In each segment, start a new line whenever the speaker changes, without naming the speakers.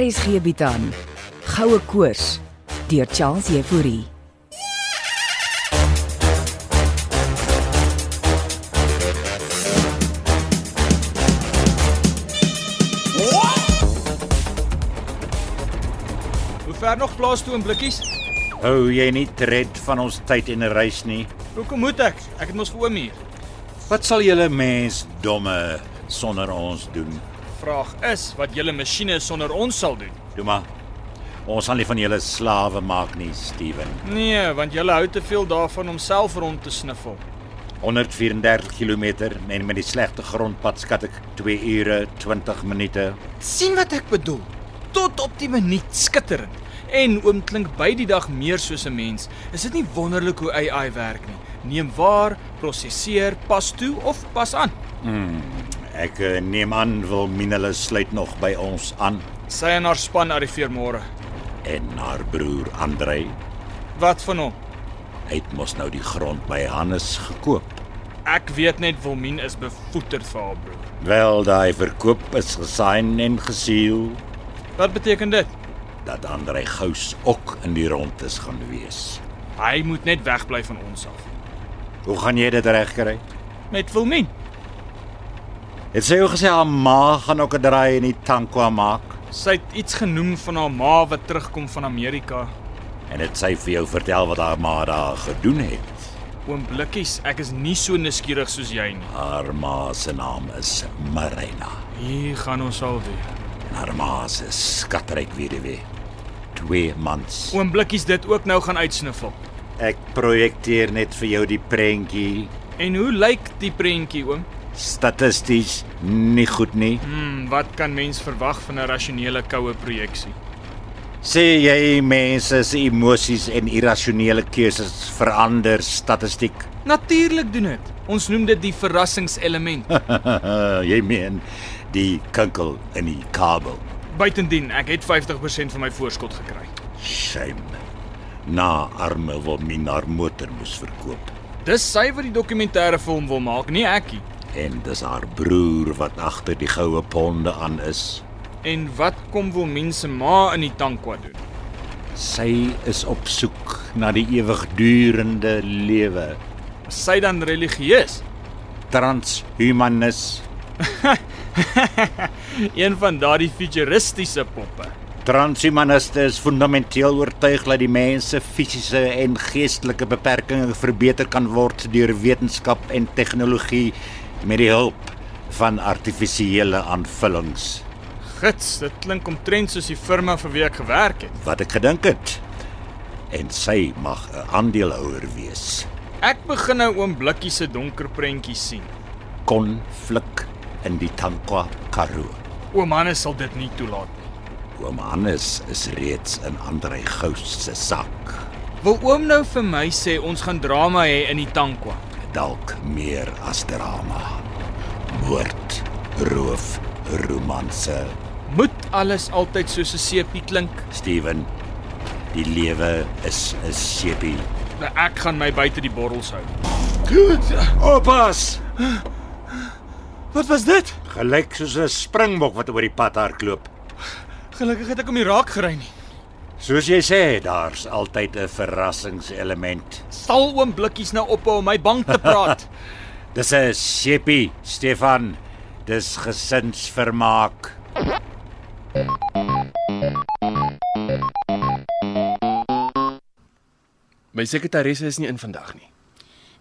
RSG bied aan Goue Koors deur Charles Euphorie.
Hoe ver nog plaas toe in blikkies?
Hou jy nie tred van ons tyd en reis nie.
Hoekom moet ek? Ek het mos vir oom hier.
Wat sal julle mens domme sonder ons doen?
Vraag is wat julle masjiene sonder ons sal doen.
Doen maar. Ons sal nie van julle slawe maak nie, Steven.
Nee, want julle hou te veel daarvan om self rond te sniffel.
134 km en met die slegte grondpad skat ek 2 ure 20 minute.
sien wat ek bedoel? Tot op die minuut skitterend. En oom klink by die dag meer soos 'n mens. Is dit nie wonderlik hoe AI werk nie? Neem waar, prosesseer, pas toe of pas aan.
Ek eh, neem aan Wilmien hulle sluit nog by ons aan
Sy en haar span arriveer môre.
en haar broer Andrei
Wat van hom?
hy het mos nou die grond by Hannes gekoop.
Ek weet net Wilmien is bevoeterd vir haar broer.
Wel, daai verkoop is gesign en gesiel
Wat beteken dit?
dat Andrei Gous ook in die rondes gaan wees.
Hy moet net wegbly van ons af.
Hoe gaan jy dit regkry?
Met Wilmien.
Het sy jou gesê haar ma gaan ook 'n draai in die tankwa maak
Sy het iets genoem van haar ma wat terugkom van Amerika.
en dit sy vir jou vertel wat haar ma daar gedoen het.
Oom Blikkies, ek is nie so nuuskierig soos jy nie.
Haar ma se naam is Marina
Hier gaan ons al weer.
en haar ma se skatryk weduwee. 2 maande.
Oom Blikkies dit ook nou gaan uitsniffel.
Ek projekteer net vir jou die prentjie.
En hoe lyk die prentjie, oom?
Statisties nie goed nie.
Hmm, wat kan mens verwag van 'n rasionele koue projeksie?
Sê jy mense se emosies en irrasionele keuses verander statistiek?
Natuurlik doen dit. Ons noem dit die verrassingselement.
jy meen die kinkel in die kabel.
Buitendien, ek het 50% van my voorskot gekry.
Shame. Na arme wil min haar motor moes verkoop
Dis sy wat die dokumentêre film wil maak, nie ekkie.
en dis haar broer wat agter die goue ponde aan is.
En wat kom wil mense ma in die tankwa doen?
Sy is op soek na die ewigdurende lewe.
Is sy dan religieus?
Transhumanis,
Een van daardie futuristiese poppe.
transhumaniste is fundamenteel oortuig dat die mens se fisiese en geestelike beperkings verbeter kan word deur wetenskap en tegnologie met die hulp van artifisiële aanvullings.
Gits, dit klink omtrent soos die firma vir wie ek gewerk het.
wat ek gedink het. En sy mag 'n aandeelhouer wees.
Ek begin nou oom Blikkie se donker prentjies sien.
Konflik in die Tankwa Karoo.
Oom Hannes sal dit nie toelaat nie.
Oom Hannes is reeds in Andrei Gous se sak.
Wil oom nou vir my sê ons gaan drama hê in die tankwa?
Dalk meer as drama. Moord, roof, romanse.
Moet alles altyd soos 'n seepie klink?
Steven, die lewe is 'n sepie.
Nou, Ek gaan my buite die borrels hou.
Oppas!
Wat was dit?
Gelyk soos 'n springbok wat oor die pad hardloop.
Gelukkig het ek hom nie raak gery nie.
Soos jy sê, daar's altyd 'n verrassingselement.
Sal oom Blikkies nou ophou om my bang te praat?
Dis 'n sepie, Stefan. Dis gesinsvermaak.
My sekretaresse is nie in vandag nie.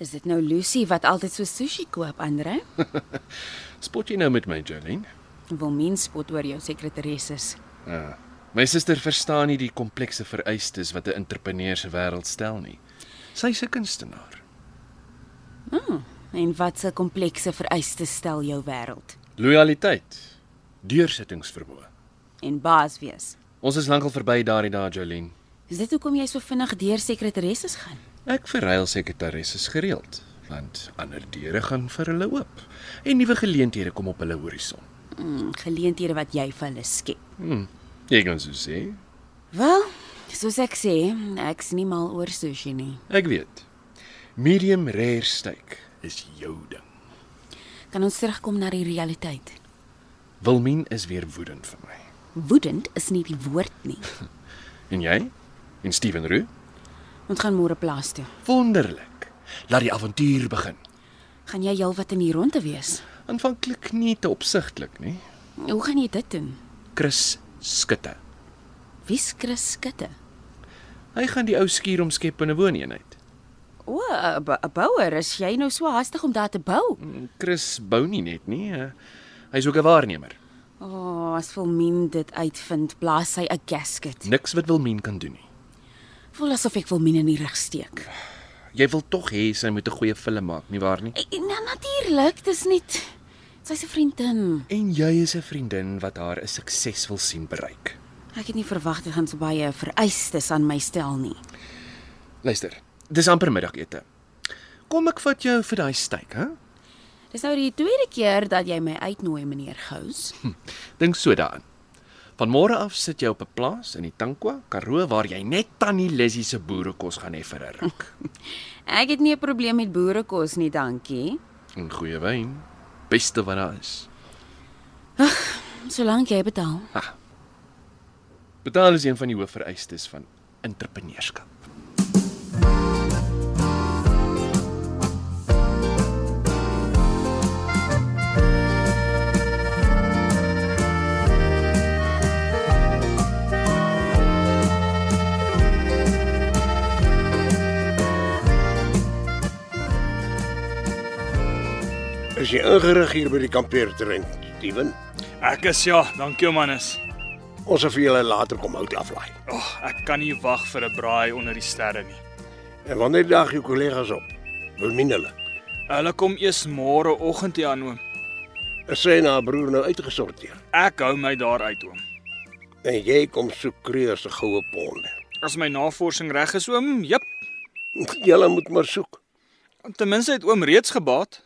Is dit nou Lucy wat altyd so sushi koop, Andre?
Spot jy nou met my, Jolene?
Wil mens spot oor jou sekretaresses.
Ja. My suster verstaan nie die komplekse vereistes wat 'n entrepreneur se wêreld stel nie. Sy's 'n kunstenaar.
En wat se komplekse vereistes stel jou wêreld?
Loyaliteit, deursettingsvermoë.
En baas wees.
Ons is lankal verby daardie dae, Jolene.
Is dit hoekom jy so vinnig deur sekretaresses gaan?
Ek verruil sekretaresses gereeld, want ander deure gaan vir hulle oop en nuwe geleenthede kom op hulle horison.
Hmm, geleenthede wat jy vir hulle skep.
Jy kan so sê.
Wel, soos ek sê, ek's nie mal oor sushi nie.
Ek weet. Medium rare steak is jou ding.
Kan ons terugkom na die realiteit?
Wilmien is weer woedend vir my.
Woedend is nie die woord nie.
En jy? En Steven Roo?
Ons gaan môre plaas toe.
Wonderlik. Laat die avontuur begin.
Gaan jy heelwat in die ronde wees?
Aanvanklik nie te opsigtelik nie.
Hoe gaan jy dit doen?
Chris skutte.
Wie skrus skitte?
Hy gaan die ou skuur omskep in 'n wooneenheid.
O, 'n b- 'n bouer, is jy nou so haastig om daar te bou?
Chris bou nie net nie. eh, Hy's ook 'n waarnemer.
O, oh, as Wilmien dit uitvind, blaas hy 'n gasket.
Niks wat Wilmien kan doen nie.
Voel asof ek Wilmien in die rug steek.
Jy wil tog hê sy moet 'n goeie film maak, nie waar nie?
Nou natuurlik, dis nie sy's 'n vriendin.
En jy is 'n vriendin wat haar 'n sukses wil sien bereik.
Ek het nie verwag dit gaan so baie vereistes aan my stel nie.
Luister, dis amper middagete. Kom ek vat jou vir daai steak, hè?
Dis nou die tweede keer dat jy my uitnooi, meneer Gous.
Dink so daaraan. Van môre af sit jy op 'n plaas in die Tankwa, Karoo waar jy net tannie Lissy se boerekos gaan hê vir 'n ruk.
Ek het nie 'n probleem met boerekos nie, dankie.
en goeie wyn, beste wat daar is.
Solank jy betaal.
Betaal is een van die hoofvereistes van entrepreneurskap.
Is jy ingerig hier by die kampeerterrein, Steven?
Ek is ja, dankie mannes.
Ons sal vir julle later kom hout aflaai.
Ag, oh, ek kan nie wag vir 'n braai onder die sterre nie.
En wanneer daag jou kollegas op? Wil min hulle.
Hulle kom eers môre oggend hier aan oom.
Is sy na haar broer nou uitgesorteer
Ek hou my daar uit oom.
en jy kom soek kreus se goue ponde.
As my navorsing reg is oom, jep.
Julle moet maar soek.
Ten minste het oom reeds gebaat.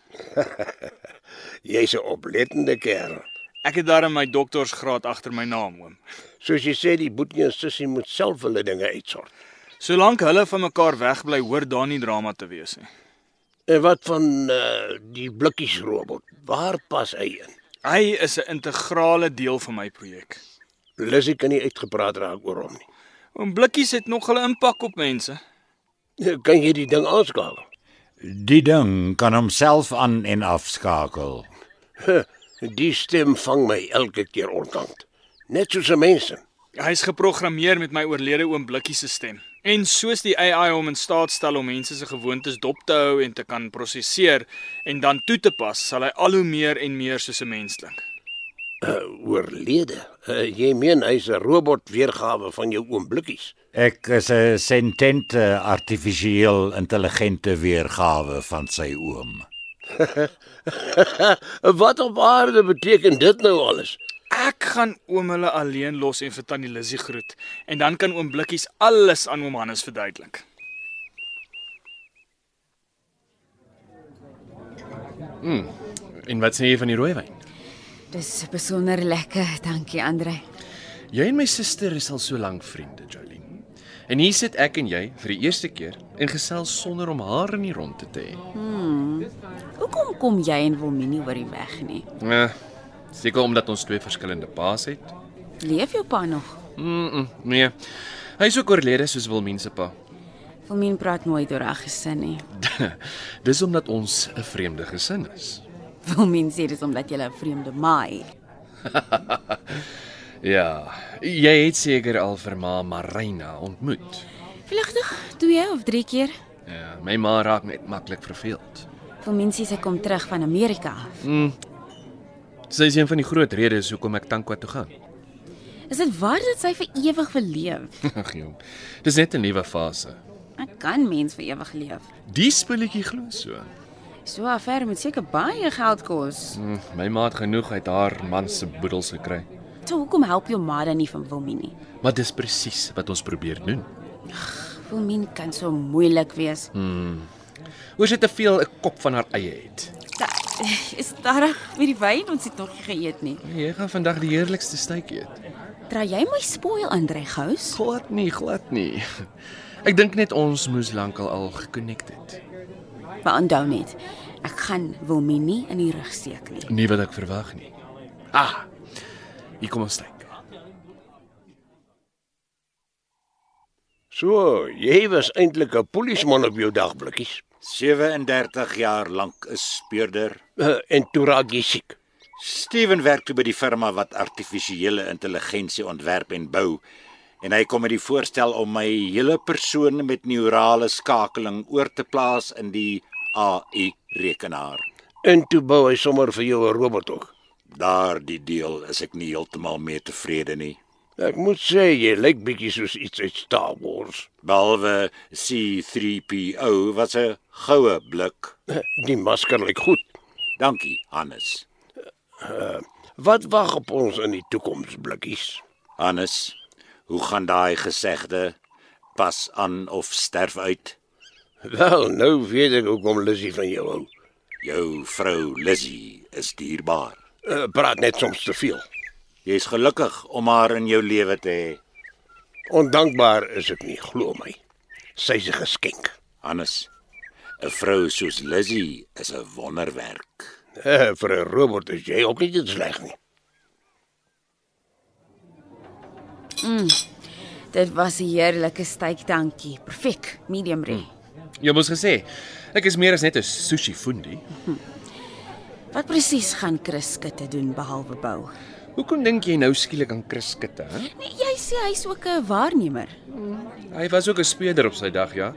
Jy's 'n oplettende kerel.
Ek het daarin my doktorsgraad agter my naam oom.
Soos jy sê, die boetie en sussie moet self hulle dinge uitsort.
Solank hulle van mekaar wegbly, hoor daar nie drama te wees nie.
En wat van uh, die blikkies robot? Waar pas hy in?
Hy is 'n integrale deel van my projek.
Lissy kan nie uitgepraat raak oor hom nie.
Oom Blikkies het nog hulle impak op mense.
Kan jy die ding aanskakel?
Die ding kan homself aan en afskakel.
Die stem vang my elke keer onkant. Net soos 'n mens.
Hy's geprogrammeer met my oorlede oom Blikkie se stem. En soos die AI hom in staat stel om mense se gewoontes dop te hou en te kan prosesseer en dan toe te pas, sal hy al hoe meer en meer soos 'n mens klink.
Uh, oorlede. Uh, jy meen hy's 'n robot weergawe van jou oom Blikkies.
Ek is 'n sentente artifisieel intelligente weergawe van sy oom.
Eh, Wat op aarde beteken dit nou alles?
Ek gaan oom hulle alleen los en vir tannie Lizzie groet en dan kan oom Blikkies alles aan oom Hannes verduidelik.
En wat sê jy van die rooiwyn?
Dis besonder lekker, dankie Andre.
Jy en my suster is al so lank vriende, Jolene. En hier sit ek en jy vir die eerste keer en gesels sonder om haar in die ronde te hê.
Hoekom kom jy en Wilmien nie oor die weg nie?
Eh, seker omdat ons twee verskillende paas het.
Leef jou pa nog?
Mm, -mm nee. Hy is ook oorlede soos Wilmien se pa.
Wilmien praat nooit oor haar gesin nie.
Dis omdat ons 'n vreemde gesin is.
Wilmien sê dit is omdat jy 'n vreemde ma het.
Ja, jy het seker al vir ma Marina ontmoet.
Vlugtig, twee of drie keer.
Ja, my ma raak net maklik verveeld.
Wilmien sê sy kom terug van Amerika af.
Sy is een van die groot redes hoekom ek Tankwa toe gaan.
Is dit waar dat sy vir ewig wil leef?
Ag jong. Dis net 'n nuwe fase.
Ek kan mens vir ewig leef.
Die spulletjie glo so.
So 'n affaire moet seker baie geld kos.
Hm, My ma het genoeg uit haar man se boedels gekry.
So hoekom help jou ma dan nie van Wilmien nie?
Maar dis presies wat ons probeer doen.
Wilmien kan so moeilik wees.
Oor sy te veel 'n kop van haar eie het.
Da, is daar met die wyn ons het nog nie geëet nie.
Jy gaan vandag die heerlikste steak eet.
Dra jy my spoil Andre Gous?
Glad nie, glad nie. Ek dink net ons moes lankal al gekonnekt het.
Maar onthou net, ek gaan Wilmien nie in die rug steek nie.
Nie wat ek verwag nie. Ah. Hier kom ons steek.
So, jy was eintlik 'n polisieman op jou dag blikkies.
37 jaar lank 'n speurder.
Uh, en toe raak jy siek.
Steven werk toe by die firma wat artifisiële intelligensie ontwerp en bou en hy kom met die voorstel om my hele persoon met neurale skakeling oor te plaas in die AI rekenaar.
En toe bou hy sommer vir jou 'n robot ook.
Daardie deel is ek nie heeltemal mee tevrede nie.
Ek moet sê jy lyk bietjie soos iets uit Star Wars.
Behalwe C3PO wat 'n goue blik.
Eh, Die masker lyk goed.
Dankie, Hannes.
Wat wag op ons in die toekoms blikkies?
Hannes, hoe gaan daai gesegde pas aan of sterf uit?
Wel, nou weet ek hoekom Lissy van jou hou.
Jou vrou Lizzie is dierbaar.
Uh, praat net soms te veel.
Jy's gelukkig om haar in jou lewe te hê,
Ondankbaar is ek nie, glo my. Sy's 'n geskenk.
Hannes. 'n Vrou soos Lizzie is 'n wonderwerk.
Uh, vir 'n robot is jy ook nie sleg nie.
Dit was 'n heerlike steak, dankie. Perfek, medium rare.
Jy moes gesê, ek is meer as net 'n sushi fundi.
Hmm. Wat presies gaan Chris Skutte doen behalwe bou?
Hoekom dink jy nou skielik aan Chris Skutte, hè?
Nee, jy sê hy's ook 'n waarnemer.
Hy was ook 'n speurder op sy dag, ja.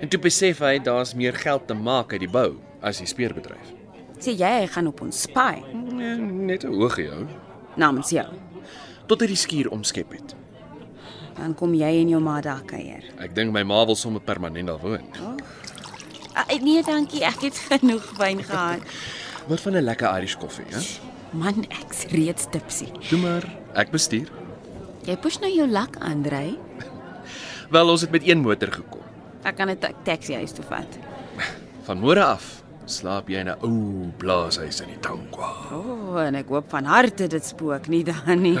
En toe besef hy daar's meer geld te maak uit die bou as die speerbedryf.
Sê jy hy gaan op ons spy
Nee, net 'n oog gehou
namens jou.
tot hy die skuur omskep het.
Dan kom jy en jou ma daar kuier.
Ek dink my ma wil sommer permanent daar woon.
Ah, nee, dankie. Ek het genoeg wyn gehad.
Wat van 'n lekker Irish koffie, hè?
Man, ek's reeds tipsy.
Toe maar, ek bestuur.
Jy push nou jou lak aan, Drey.
Wel, ons het met een motor gekom.
Ek kan 'n ta- taxi huis toe vat.
Vanmôre af slaap jy in 'n ou plaashuis in die Tankwa.
O, oh, en ek hoop van harte dit spook nie dan nie.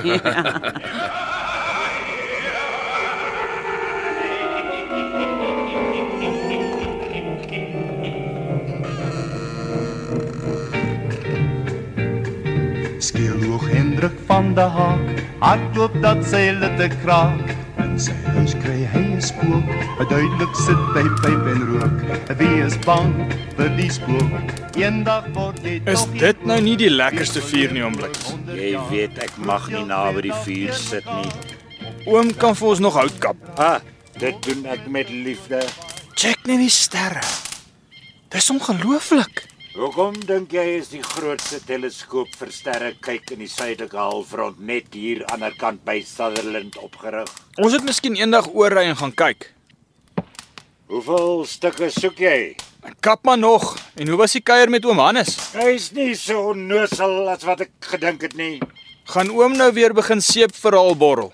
Skeelhoog Hendrik van der Haak Hardloop dat sy litte kraak In sy huis kry hy 'n spook Duidelik sit hy pyp en rook Wie is bang vir die spook Eendag word jy
Is
toch
dit
een
nou nie die
boer.
lekkerste vuur nie, oom Blikkies?
Jy weet ek mag nie naby die vuur sit nie.
Oom kan vir ons nog hout kap.
Ah, dit doen ek met liefde.
Check net die sterre. Dis ongelooflik.
Hoekom dink jy is die grootste teleskoop vir sterre kyk in die suidelike halfrond net hier aan die ander kant by Sutherland opgerig?
Ons moet miskien eendag oorry en gaan kyk.
Hoeveel stukke soek jy?
En kap maar nog. En hoe was die kuier met oom Hannes?
Hy's nie so onnosel as wat ek gedink het nie.
Gaan oom nou weer begin seep verhaal borrel?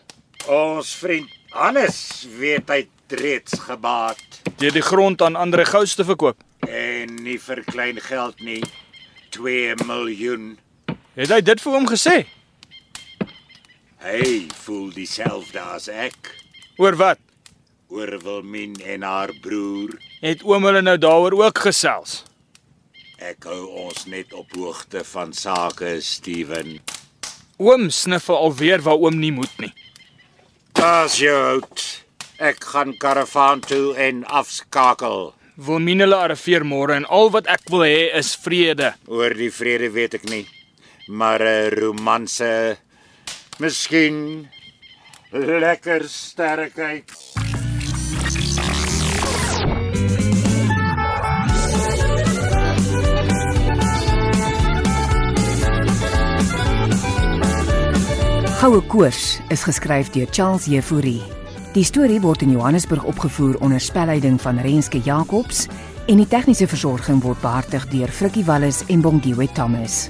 Ons vriend Hannes weet hy het reeds gebaat
Deur die grond aan ander gous te verkoop.
en nie vir klein geld nie. 2 miljoen.
Het hy dit vir oom gesê?
Hy voel dieselfde as ek
Oor wat?
oor Wilmien en haar broer.
Het oom hulle nou daaroor ook gesels?
Ek hou ons net op hoogte van sake, Steven.
Oom sniffel alweer waar oom nie moet nie.
Pas jou hout. Ek gaan karavaan toe en afskakel.
Wilmien hulle arriveer môre en al wat ek wil hê is vrede.
Oor die vrede weet ek nie, maar 'n romanse miskien lekker sterkheid.
Goue koers is geskryf deur Charles Jefouri. Die storie word in Johannesburg opgevoer onder spelleiding van Renske Jacobs en die tegniese versorging word behartig deur Frikkie Wallis en Bongwe Thomas.